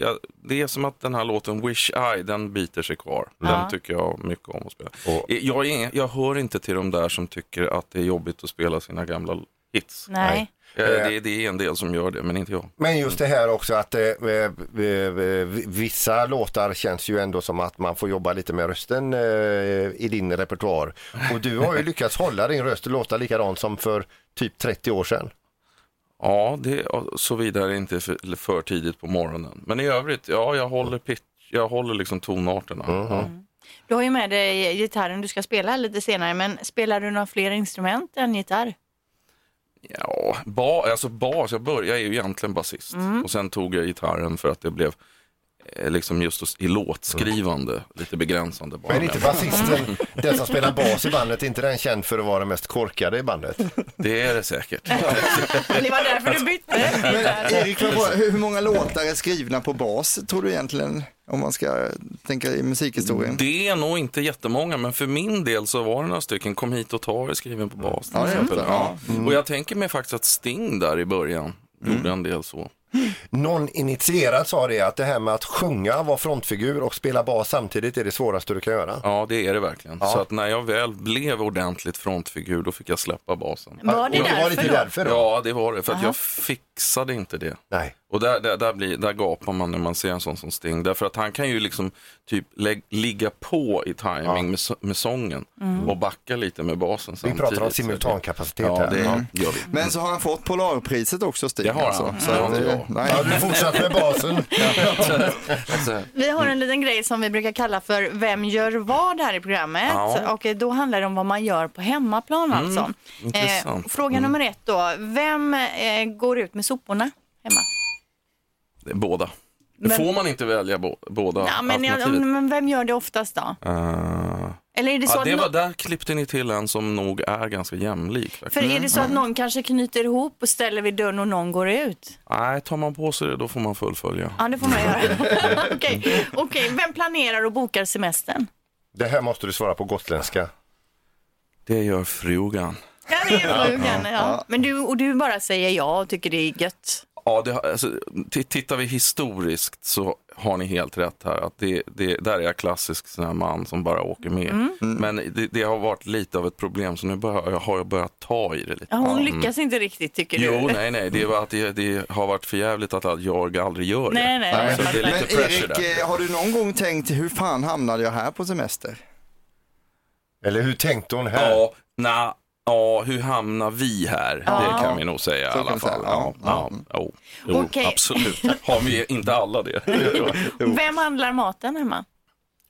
Speaker 14: jag, det är som att den här låten Wish I, den biter sig kvar.
Speaker 2: Ja.
Speaker 14: Den tycker jag mycket om att spela. Eh, Jag, är, ingen- jag hör inte till de där som tycker att det är jobbigt att spela sina gamla hits.
Speaker 2: Nej.
Speaker 14: Eh, Det, det är en del som gör det, men inte jag.
Speaker 3: Men just det här också att eh, eh, eh, vissa låtar känns ju ändå som att man får jobba lite med rösten eh, i din repertoar. Och du har ju lyckats hålla din röst och låta likadant som för typ 30 år sedan.
Speaker 14: Ja, det, såvida det inte är för, för tidigt på morgonen. Men i övrigt, ja, jag håller pitch, jag håller liksom tonarterna.
Speaker 3: Mm.
Speaker 14: Ja.
Speaker 2: Du har ju med dig gitarren du ska spela lite senare, men spelar du några fler instrument än gitarr?
Speaker 14: Ja, ba, alltså bas, jag, bör, jag är ju egentligen basist
Speaker 2: Mm.
Speaker 14: och sen tog jag gitarren för att det blev eh, liksom just hos- i låtskrivande lite begränsande. Bara.
Speaker 3: Men inte basisten, den som spelar bas i bandet, inte den känd för att vara den mest korkade i bandet.
Speaker 14: Det är det säkert.
Speaker 2: Det var därför du bytte.
Speaker 1: Men Erik, vad bra. hur hur många låtar är skrivna på bas tror du egentligen? Om man ska tänka i musikhistorien.
Speaker 14: Det är nog inte jättemånga, men för min del så var det några stycken. Kom hit och ta är skriven
Speaker 3: Mm.
Speaker 14: på bas till
Speaker 1: Ja, det är
Speaker 14: exempel.
Speaker 1: det.
Speaker 14: Ja. Och jag tänker mig faktiskt att Sting där i början
Speaker 3: Mm.
Speaker 14: gjorde en del så.
Speaker 3: Någon initierad sa det att det här med att sjunga, vara frontfigur och spela bas samtidigt är det svåraste du kan göra.
Speaker 14: Ja, det är det verkligen.
Speaker 3: Ja.
Speaker 14: Så att när jag väl blev ordentligt frontfigur, då fick jag släppa basen.
Speaker 3: Var det Och det var därför lite då? därför då?
Speaker 14: Ja, det var det. För att
Speaker 3: Aha.
Speaker 14: jag fixade inte det.
Speaker 3: Nej.
Speaker 14: Och där, där, där, blir, där gapar man när man ser en sån som Sting. Därför att han kan ju liksom typ lägg, ligga på i timing med, så- med sången
Speaker 1: Mm.
Speaker 14: och backa lite med basen
Speaker 3: Vi
Speaker 14: samtidigt.
Speaker 3: pratar om
Speaker 14: Så det-
Speaker 3: simultankapacitet
Speaker 14: Ja,
Speaker 3: här.
Speaker 14: det
Speaker 3: Mm.
Speaker 14: gör vi.
Speaker 1: Men så har han fått Polarpriset också Stig.
Speaker 14: Det har han.
Speaker 1: Så
Speaker 14: Ja,
Speaker 1: att,
Speaker 14: det
Speaker 1: eh,
Speaker 14: var.
Speaker 1: nej.
Speaker 3: Ja, du fortsatt med basen.
Speaker 14: Alltså,
Speaker 2: Vi har en liten grej som vi brukar kalla för Vem gör vad här i programmet?
Speaker 14: Ja.
Speaker 2: Och eh, då handlar det om vad man gör på hemmaplan
Speaker 14: Mm,
Speaker 2: alltså.
Speaker 14: intressant.
Speaker 2: fråga
Speaker 14: Mm.
Speaker 2: nummer ett då. Vem eh, går ut med soporna hemma?
Speaker 14: det är båda.
Speaker 2: Men-
Speaker 14: Får man inte välja bo, båda
Speaker 2: Ja, men, jag,
Speaker 14: alternativet?
Speaker 2: men vem gör det oftast då?
Speaker 14: Eh,
Speaker 2: Eller är det så
Speaker 14: ja,
Speaker 2: att
Speaker 14: det
Speaker 2: nå-
Speaker 14: var, där klippte ni till en som nog är ganska jämlik. faktiskt.
Speaker 2: För är det så att
Speaker 14: Mm.
Speaker 2: någon kanske knyter ihop och ställer vid dörren och någon går ut?
Speaker 14: Nej, tar man på sig det då får man fullfölja.
Speaker 2: Ja, det får man göra. Okej, Okej, vem planerar och bokar semestern?
Speaker 3: Det här måste du svara på gotländska.
Speaker 14: Det gör frugan.
Speaker 2: Ja, det är frugan,
Speaker 14: Ja.
Speaker 2: ja. Men du, och du bara säger ja och tycker det är gött.
Speaker 14: Ja, det, har- alltså, t- tittar vi historiskt så har ni helt rätt här. Att det, det, där är jag klassisk sån här man som bara åker med.
Speaker 2: Mm.
Speaker 14: Men det, det har varit lite av ett problem så nu bör, jag har jag börjat ta i det lite.
Speaker 2: Ja, hon
Speaker 14: Mm.
Speaker 2: lyckas inte riktigt tycker du.
Speaker 14: Jo, nej, nej, det, är bara att det, det har varit för jävligt att jag aldrig gör det.
Speaker 2: Nej, nej, nej.
Speaker 14: Så det är lite
Speaker 1: Men
Speaker 14: pressure
Speaker 1: Erik,
Speaker 14: där.
Speaker 1: eh, har du någon gång tänkt hur fan hamnade jag här på semester?
Speaker 3: Eller hur tänkte hon
Speaker 14: Ja, nej, Ja, hur hamnar vi här?
Speaker 15: Ja.
Speaker 14: Det kan vi nog säga i
Speaker 15: Så kan
Speaker 14: alla
Speaker 15: vi säga,
Speaker 14: fall.
Speaker 15: ja. Mm.
Speaker 14: Ja, ja, jo, jo,
Speaker 15: Okej.
Speaker 14: absolut. Har vi inte alla det?
Speaker 15: Vem handlar maten hemma?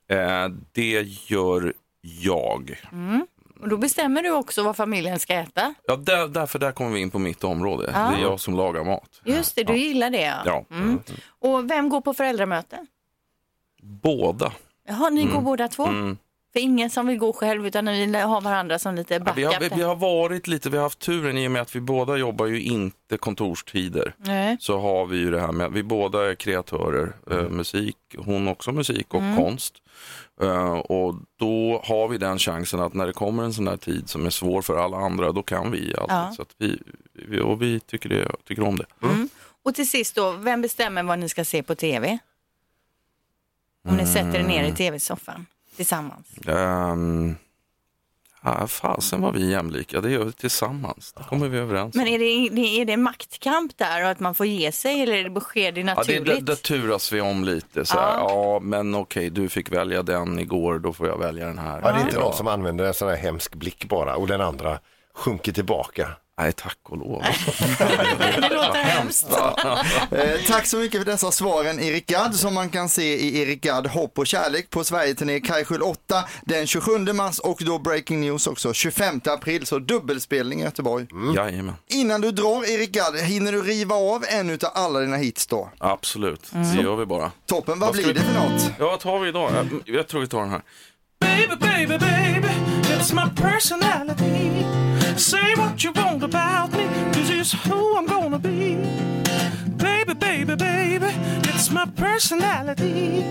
Speaker 14: Eh, det gör jag.
Speaker 15: Mm. Och då bestämmer du också vad familjen ska äta.
Speaker 14: Ja, där, därför där kommer vi in på mitt område.
Speaker 15: Ja.
Speaker 14: Det är jag som lagar mat.
Speaker 15: Just det, du
Speaker 14: Ja.
Speaker 15: gillar det
Speaker 14: Ja.
Speaker 15: Ah. Mm. Och vem går på föräldramöten?
Speaker 14: Båda.
Speaker 15: Jaha, ni går
Speaker 14: Mm.
Speaker 15: båda två?
Speaker 14: Mm.
Speaker 15: För ingen som vill gå själv utan ni har varandra som lite
Speaker 14: Ja,
Speaker 15: backup.
Speaker 14: vi, har, vi,
Speaker 15: där.
Speaker 14: vi har varit lite, vi har haft turen i och med att vi båda jobbar ju inte kontorstider.
Speaker 15: Nej.
Speaker 14: Så har vi ju det här med, vi båda är kreatörer, eh, musik, hon också musik och
Speaker 15: Mm.
Speaker 14: konst. Eh, och då har vi den chansen att när det kommer en sån här tid som är svår för alla andra, då kan vi allt.
Speaker 15: Ja.
Speaker 14: Så att vi, vi, och vi tycker, det, tycker om det.
Speaker 15: Och till sist då, vem bestämmer vad ni ska se på tv? Om ni sätter er ner i
Speaker 14: Mm.
Speaker 15: tv-soffan tillsammans.
Speaker 14: Ehm, ja, fasen var vi jämlika, det gör vi tillsammans. Det kommer vi överens om.
Speaker 15: Men är det, det- är det en maktkamp där och att man får ge sig eller är det sker det
Speaker 14: Ja, det,
Speaker 15: naturligt?
Speaker 14: det, det turas vi om lite. Så här. Ja. men okej, du fick välja den igår, då får jag välja den här.
Speaker 3: Ja, det är inte någon
Speaker 14: idag.
Speaker 3: som använder en sån här hemsk blick bara och den andra sjunker tillbaka.
Speaker 14: Nej, tack och lov.
Speaker 15: det låter hemskt.
Speaker 1: Eh, tack så mycket för dessa svaren Erik Gadd som man kan se i Erik Gadd Hopp och kärlek på Sverigeturné Kajskjul 8 den 27 mars och då Breaking News också 25 april så dubbelspelning i Göteborg.
Speaker 14: Mm. Jajamän,
Speaker 1: Innan du drar Erik Gadd, hinner du riva av en utav alla dina hits då?
Speaker 14: absolut.
Speaker 1: Mm.
Speaker 14: Det gör vi bara.
Speaker 1: Toppen, vad blir det för något?
Speaker 14: Ja, vad tar vi idag? Jag, jag tror vi tar den här.
Speaker 13: Baby, baby, baby, it's my personality. Say what you want about me, this is who I'm gonna be. Baby, baby, baby, it's my personality.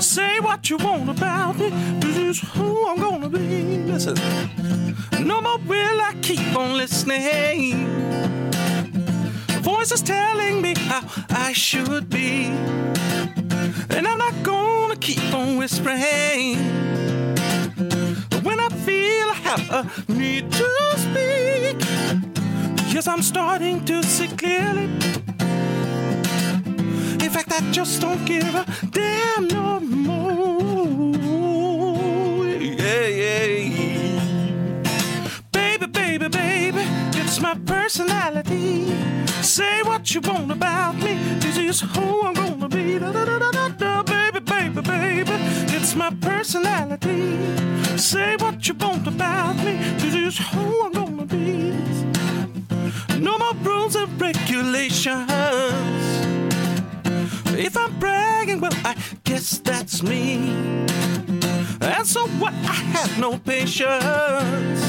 Speaker 13: Say what you want about me, this is who I'm gonna be. Listen, no more will I keep on listening. Voices telling me how I should be. And I'm not gonna keep on whispering when I feel I have a need to speak. Yes, I'm starting to see clearly. In fact, I just don't give a damn no more. Yeah, yeah. Baby, baby, baby, it's my personality. Say what you want about me, this is who I'm gonna be. Da, da, da, da, da, da. Baby, baby, baby, it's my personality. Say what you want about me, this is who I'm gonna be. No more rules and regulations. If I'm bragging, well, I guess that's me. And so what? I have no patience.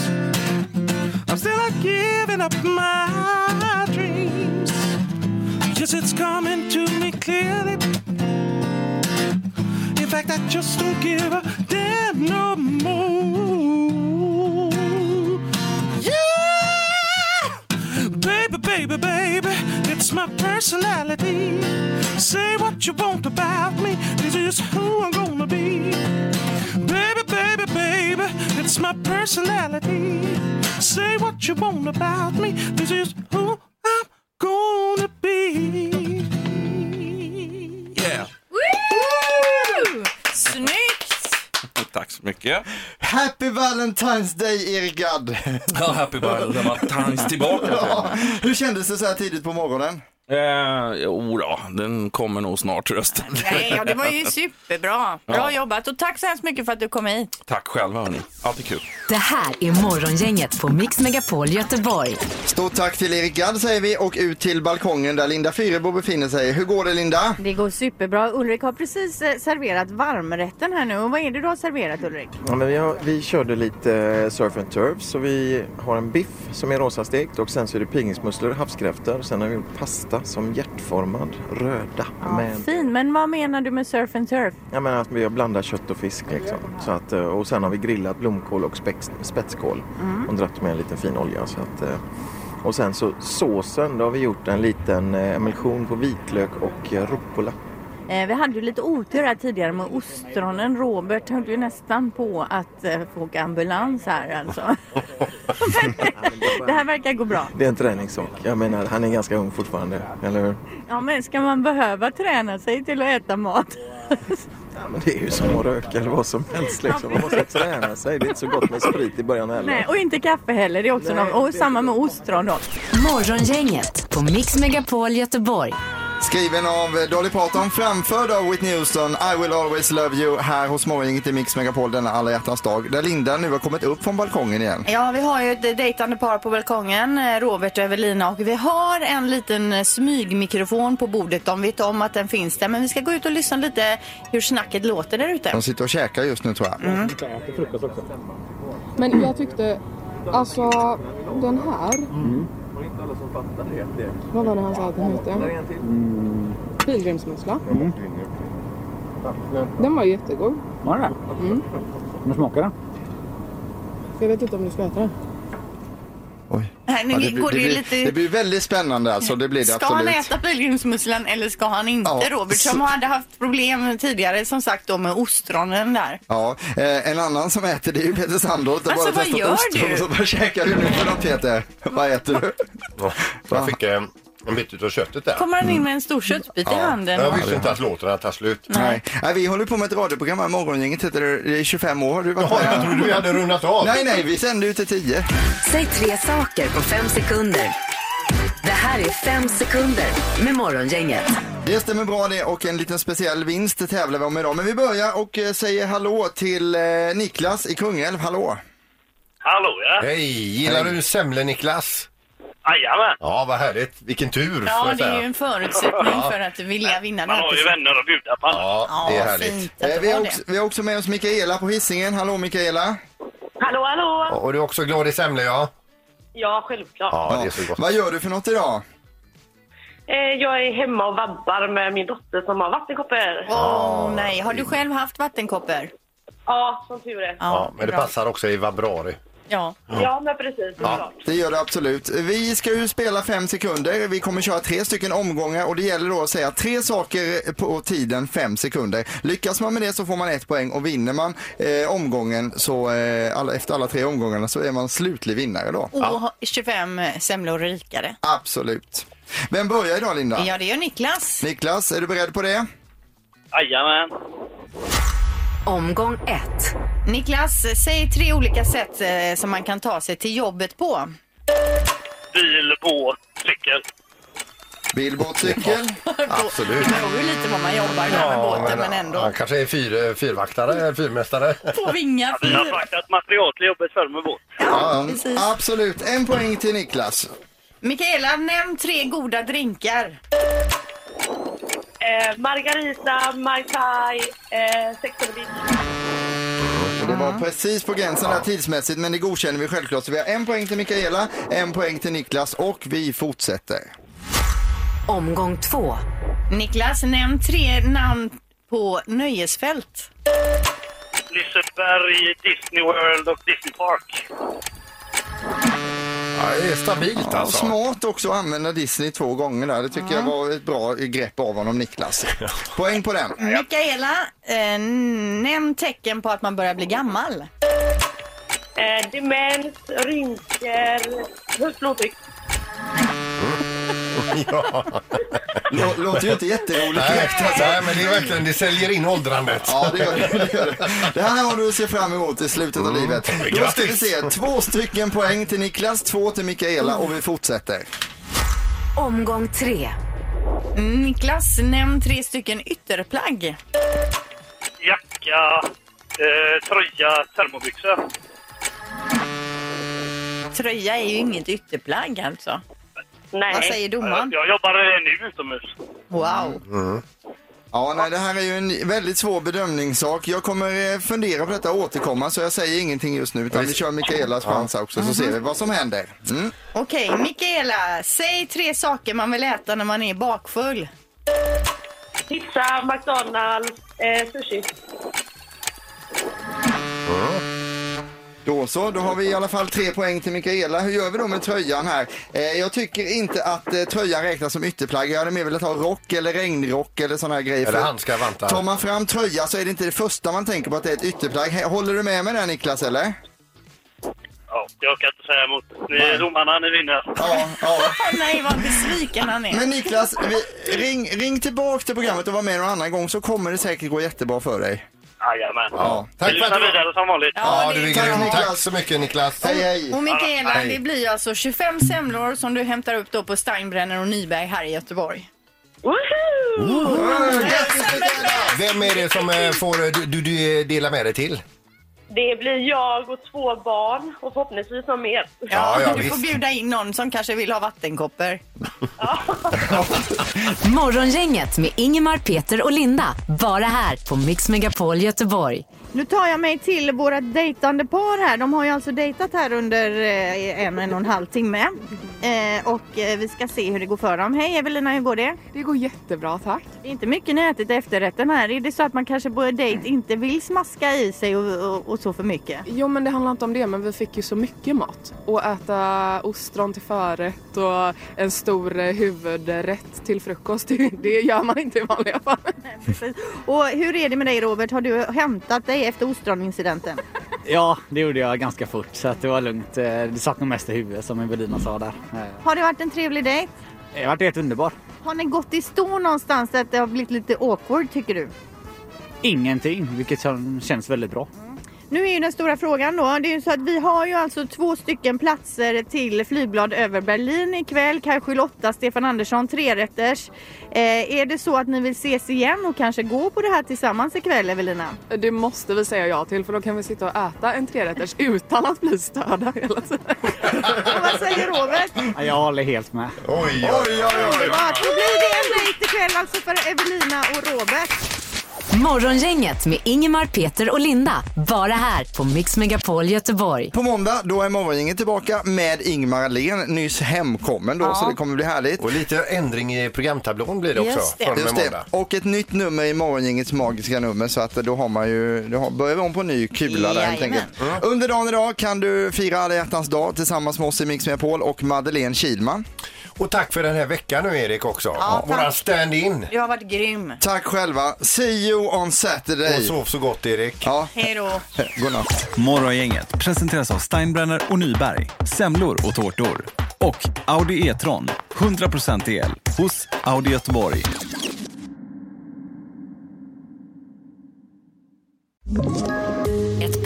Speaker 13: I'm still not giving up my dreams. Yes, it's coming to me clearly. In fact, I just don't give a damn no more. Yeah! Baby, baby, baby, it's my personality. Say what you want about me, this is who I'm gonna be. Baby, baby, baby, it's my personality. Say what you want about me, this is who I'm gonna be.
Speaker 14: Yeah.
Speaker 15: Woo! Snyggt!
Speaker 14: Tack så mycket.
Speaker 1: Happy Valentine's Day Erik Gadd!
Speaker 14: Ja, happy Valentine's tillbaka.
Speaker 1: Ja, Hur kändes det så här tidigt på morgonen?
Speaker 14: Eh, jo då, den kommer nog snart rösten.
Speaker 15: Nej, ja, det var ju superbra. Bra
Speaker 14: Ja.
Speaker 15: jobbat och tack så hemskt mycket för att du kom hit.
Speaker 14: Tack själva hörni, alltid kul.
Speaker 4: Det här är Morgongänget på Mix Megapol Göteborg.
Speaker 1: Stort tack till Erik Gadd säger vi och ut till balkongen där Linda Fyrebo befinner sig. Hur går det Linda?
Speaker 7: Det går superbra. Ulrik har precis eh, serverat varmrätten här nu. Och vad är det du har serverat Ulrik?
Speaker 11: Ja, men vi, har, vi körde lite eh, surf and turf så vi har en biff som är rosastekt och sen så är det pilgrimsmusslor, havskräftor. Sen har vi gjort pasta som hjärtformad, röda.
Speaker 7: Ja,
Speaker 11: med,
Speaker 7: Fin, men vad menar du med surf and turf?
Speaker 11: jag menar att vi har blandat kött och fisk liksom. Så att, eh, och sen har vi grillat blomkål och spex, spetskål
Speaker 7: Mm.
Speaker 11: och dratt med en liten fin olja. Så att, eh, och sen så såsen, då har vi gjort en liten eh, emulsion på vitlök och eh, rucola.
Speaker 7: Eh, vi hade ju lite otur här tidigare med ostronen. Robert höll ju nästan på att eh, få åka ambulans här alltså. men, det här verkar gå bra.
Speaker 11: Det är en träningssak. Jag menar, han är ganska ung fortfarande, eller hur?
Speaker 7: Ja, men ska man behöva träna sig till att äta mat?
Speaker 11: Ja, men det är ju som att röka eller vad som helst liksom. Man måste träna sig. Det är inte så gott med sprit i början heller.
Speaker 7: Nej, och inte kaffe heller. Det är också
Speaker 11: Nej,
Speaker 7: någon, och
Speaker 11: det-
Speaker 7: samma med ostron då.
Speaker 4: Morgongänget på Mix Megapol Göteborg.
Speaker 1: Skriven av eh, Dolly Parton, framförd av Whitney Houston, I will always love you, här hos Morgongänget i Mix Megapol denna alla hjärtans dag, där Linda nu har kommit upp från balkongen igen.
Speaker 2: Ja, vi har ju ett dejtande par på balkongen, eh, Robert och Evelina, och vi har en liten eh, smygmikrofon på bordet. De vet om att den finns där, men vi ska gå ut och lyssna lite hur snacket låter där ute.
Speaker 1: De sitter och käkar just nu tror jag.
Speaker 2: Mm.
Speaker 8: Men jag tyckte, alltså den här,
Speaker 11: Och inte alla som fattar det.
Speaker 8: vad var det han sa att den hette? Pilgrimsmussla. Den var jättegod.
Speaker 10: Var det det? Mm. Vad smakar den?
Speaker 8: Jag vet inte om du ska äta den.
Speaker 2: Här, nu
Speaker 1: Ja,
Speaker 2: går det, ju
Speaker 1: blir,
Speaker 2: lite...
Speaker 1: det blir väldigt spännande alltså, det blir det
Speaker 2: Ska
Speaker 1: absolut.
Speaker 2: han äta pilgrimsmusslan eller ska han inte?
Speaker 1: Ja,
Speaker 2: Robert
Speaker 1: så-
Speaker 2: som hade haft problem tidigare som sagt då med ostronen där.
Speaker 1: Ja, eh, en annan som äter det är ju Peter Sandholt.
Speaker 2: Alltså, vad gör du?
Speaker 1: Så vad käkar du nu för något Peter? Vad äter du?
Speaker 3: Jag fick eh, en bit utav köttet där.
Speaker 2: Kommer han in med en stor köttbit i handen?
Speaker 3: Jag visste inte att låten hade tagit slut.
Speaker 1: Nej. Nej, vi håller på med ett radioprogram här, Morgongänget heter det, det är 25 år. Har Du varit
Speaker 3: Jaha, jag trodde vi hade rundat av.
Speaker 1: Nej, nej, vi sänder ju till 10.
Speaker 4: Säg tre saker på fem sekunder. Det här är fem sekunder med Morgongänget.
Speaker 1: Det stämmer bra det och en liten speciell vinst tävlar vi om idag. Men vi börjar och eh, säger hallå till eh, Niklas i Kungälv. Hallå!
Speaker 3: Hallå ja! Hej! Gillar du semlor Niklas?
Speaker 5: Ah, Jajamän!
Speaker 3: Ja, vad härligt. Vilken tur får
Speaker 2: Ja,
Speaker 3: jag
Speaker 2: det är
Speaker 3: säga.
Speaker 2: ju en förutsättning
Speaker 3: Ja.
Speaker 2: för att vilja vinna det
Speaker 5: Man
Speaker 2: här
Speaker 5: har ju
Speaker 2: priset.
Speaker 5: vänner att bjuda på.
Speaker 3: Ja, det är härligt.
Speaker 2: fint.
Speaker 1: Eh, vi,
Speaker 2: var
Speaker 1: har
Speaker 2: det.
Speaker 1: också, vi har också med oss Mikaela på Hisingen. Hallå Mikaela!
Speaker 16: Hallå, hallå!
Speaker 3: Ja, Och du är också glad i semlor ja?
Speaker 16: Ja, självklart.
Speaker 3: det är så gott.
Speaker 1: Vad gör du för något idag?
Speaker 16: Eh, jag är hemma och vabbar med min dotter som har vattenkoppor.
Speaker 2: Åh nej, har du själv haft vattenkoppor?
Speaker 16: Ja, som tur är.
Speaker 3: Ja, men det passar också i vabbrari.
Speaker 2: Ja,
Speaker 16: ja men precis. såklart.
Speaker 1: Det gör det absolut. Vi ska ju spela fem sekunder. Vi kommer köra tre stycken omgångar och det gäller då att säga tre saker på tiden fem sekunder. Lyckas man med det så får man ett poäng och vinner man eh, omgången så eh, alla, efter alla tre omgångarna så är man slutlig vinnare då.
Speaker 2: Och ha- 25 semlor rikare.
Speaker 1: Absolut. Vem börjar idag Linda?
Speaker 2: Ja, det gör Niklas.
Speaker 1: Niklas, är du beredd på det?
Speaker 5: Jajamän!
Speaker 2: Omgång 1. Niklas, säg tre olika sätt eh, som man kan ta sig till jobbet på.
Speaker 5: Bil, båt, cykel.
Speaker 1: Bil, båt, cykel.
Speaker 3: Absolut.
Speaker 2: Det beror ju lite vad man jobbar med, med båten, men ändå.
Speaker 3: Han kanske är fyr, eh, fyrvaktare, eller fyrmästare.
Speaker 2: På vingar
Speaker 5: Vi
Speaker 16: Mm.
Speaker 5: har fraktat material till jobbet förr med båt.
Speaker 1: Ja, absolut. En poäng till Niklas.
Speaker 2: Mikaela, nämn tre goda drinkar.
Speaker 16: Eh, Margarita, Mai Tai, eh, Sex and the Beach.
Speaker 1: Och det var precis på gränsen där tidsmässigt, men det godkänner vi självklart. Så vi har en poäng till Mikaela, en poäng till Niklas och vi fortsätter.
Speaker 2: Omgång två. Niklas, nämn tre namn på nöjesfält.
Speaker 5: Liseberg, Disney World och Disney Park.
Speaker 3: Ja, det är stabilt
Speaker 1: Ja,
Speaker 3: alltså.
Speaker 1: smart också att använda Disney två gånger där. Det tycker jag var ett bra grepp av honom, Niklas. Poäng på den.
Speaker 2: Mikaela, eh, nämn tecken på att man börjar bli gammal.
Speaker 16: Eh, demens, rynkor, högt blodtryck.
Speaker 3: Ja.
Speaker 1: Lå- Låter ju inte jätteroligt
Speaker 3: Nej,
Speaker 1: direkt. alltså.
Speaker 3: nej, men det är verkligen, det säljer in åldrandet.
Speaker 1: Ja, det gör det. det, gör det. det här har du att se fram emot i slutet av livet. Då ska vi
Speaker 3: Grattis.
Speaker 1: se. Två stycken poäng till Niklas, två till Mikaela och vi fortsätter.
Speaker 2: Omgång tre.
Speaker 17: Mm,
Speaker 2: Niklas, nämn tre stycken ytterplagg.
Speaker 5: Jacka, eh, tröja, termobyxor.
Speaker 2: Tröja är ju inget ytterplagg alltså.
Speaker 16: Nej.
Speaker 2: Vad säger domaren?
Speaker 5: Jag jobbar eh, nu utomhus.
Speaker 2: Wow.
Speaker 1: Ja, nej, det här är ju en väldigt svår bedömningssak. Jag kommer eh, fundera på detta och återkomma, så jag säger ingenting just nu. Utan vi kör Mikaelas chans här också, så ser vi vad som händer. Mm.
Speaker 2: Okej, Mikaela, säg tre saker man vill äta när man är bakfull.
Speaker 16: Pizza, McDonalds, eh, sushi.
Speaker 1: Då så, då har vi i alla fall tre poäng till Mikaela. Hur gör vi då med tröjan här? Eh, jag tycker inte att eh, tröjan räknas som ytterplagg. Jag hade mer velat ha rock eller regnrock eller sådana här grejer.
Speaker 3: Eller
Speaker 1: För
Speaker 3: handskar, vantar.
Speaker 1: Tar man fram tröja så är det inte det första man tänker på att det är ett ytterplagg. Hä- Håller du med mig där Niklas eller?
Speaker 18: ja, jag kan inte säga emot. Ni är domarna, ni vinner.
Speaker 17: Nej, vad besviken han är.
Speaker 1: Men Niklas, vi, ring, ring tillbaka till programmet och var med någon annan gång så kommer det säkert gå jättebra för dig.
Speaker 18: Jajamän.
Speaker 1: Ja.
Speaker 18: Tack för att du... vidare som vanligt.
Speaker 3: Ja, du är grym. Tack så mycket Niklas. Hej, hej.
Speaker 17: Och Mikaela, det blir alltså 25 semlor som du hämtar upp då på Steinbrenner och Nyberg här i Göteborg.
Speaker 3: Mm, Vem är det som eh, får eh, du, du, du dela med dig till?
Speaker 19: Det blir jag och två barn och förhoppningsvis någon mer.
Speaker 3: Ja, ja,
Speaker 17: du får bjuda in någon som kanske vill ha vattenkoppor.
Speaker 4: Morgongänget med Ingemar, Peter och Linda. Bara här på Mix Megapol Göteborg.
Speaker 2: Nu tar jag mig till våra dejtande par här. De har ju alltså dejtat här under eh, en, en och en halv timme. Eh, och eh, vi ska se hur det går för dem. Hej Evelina, hur går det?
Speaker 8: Det går jättebra, tack.
Speaker 2: Det är inte mycket ni ätit i efterrätten här. Är det så att man kanske på en dejt inte vill smaska i sig och, och, och så för mycket?
Speaker 8: Jo men det handlar inte om det men vi fick ju så mycket mat. Och äta ostron till förrätt och en stor eh, huvudrätt till frukost. Det, det gör man inte i vanliga fall.
Speaker 2: Och hur är det med dig Robert? Har du hämtat dig efter ostronincidenten?
Speaker 10: Ja, det gjorde jag ganska fort så att det var lugnt. Eh, Det satt nog mest i huvudet som Evelina sa där. Eh,
Speaker 2: Har det varit en trevlig dejt?
Speaker 10: Det vart helt underbart.
Speaker 2: Har ni gått i stå någonstans där det har blivit lite awkward tycker du?
Speaker 10: Ingenting, vilket kän- känns väldigt bra.
Speaker 2: Nu är ju den stora frågan då. Det är ju så att vi har ju alltså två stycken platser till Flygblad över Berlin ikväll. Kanske Lotta, Stefan Andersson, trerätters. Eh, är det så att ni vill ses igen och kanske gå på det här tillsammans ikväll Evelina?
Speaker 8: Det måste vi säga ja till för då kan vi sitta och äta en trerätters utan att bli störda hela tiden.
Speaker 2: Vad säger Robert?
Speaker 10: Ja, Jag håller helt med.
Speaker 3: Oj,
Speaker 10: oj, oj.
Speaker 2: Ja, då blir det en dejt ikväll alltså för Evelina och Robert.
Speaker 4: Morgongänget med Ingemar, Peter och Linda. Bara här på Mix Megapol Göteborg.
Speaker 1: På måndag då är Morgongänget tillbaka med Ingmar Ahlén, nyss hemkommen då
Speaker 4: Ja.
Speaker 1: så det kommer bli härligt.
Speaker 3: Och lite ändring i programtablån blir det också, Just det. från och med
Speaker 1: Just det.
Speaker 3: måndag.
Speaker 1: Och ett nytt nummer i Morgongängets magiska nummer så att då har man ju, då har, börjar vi om på ny kula där helt
Speaker 3: Jajamän.
Speaker 1: enkelt. Mm. Under dagen idag kan du fira alla hjärtans dag tillsammans med oss i Mix Megapol och Madeleine Kilman.
Speaker 3: Och tack för den här veckan nu Erik också.
Speaker 1: Ja,
Speaker 3: Våran
Speaker 1: tack.
Speaker 3: stand-in.
Speaker 17: Du har varit grym.
Speaker 1: Tack själva. See you on Saturday.
Speaker 3: Och sov så gott Erik.
Speaker 1: Ja.
Speaker 17: Hej då.
Speaker 1: Godnatt.
Speaker 20: Morgongänget presenteras av Steinbrenner och Nyberg. Semlor och tårtor. Och Audi E-tron. 100% el hos Audi Göteborg.
Speaker 4: Ett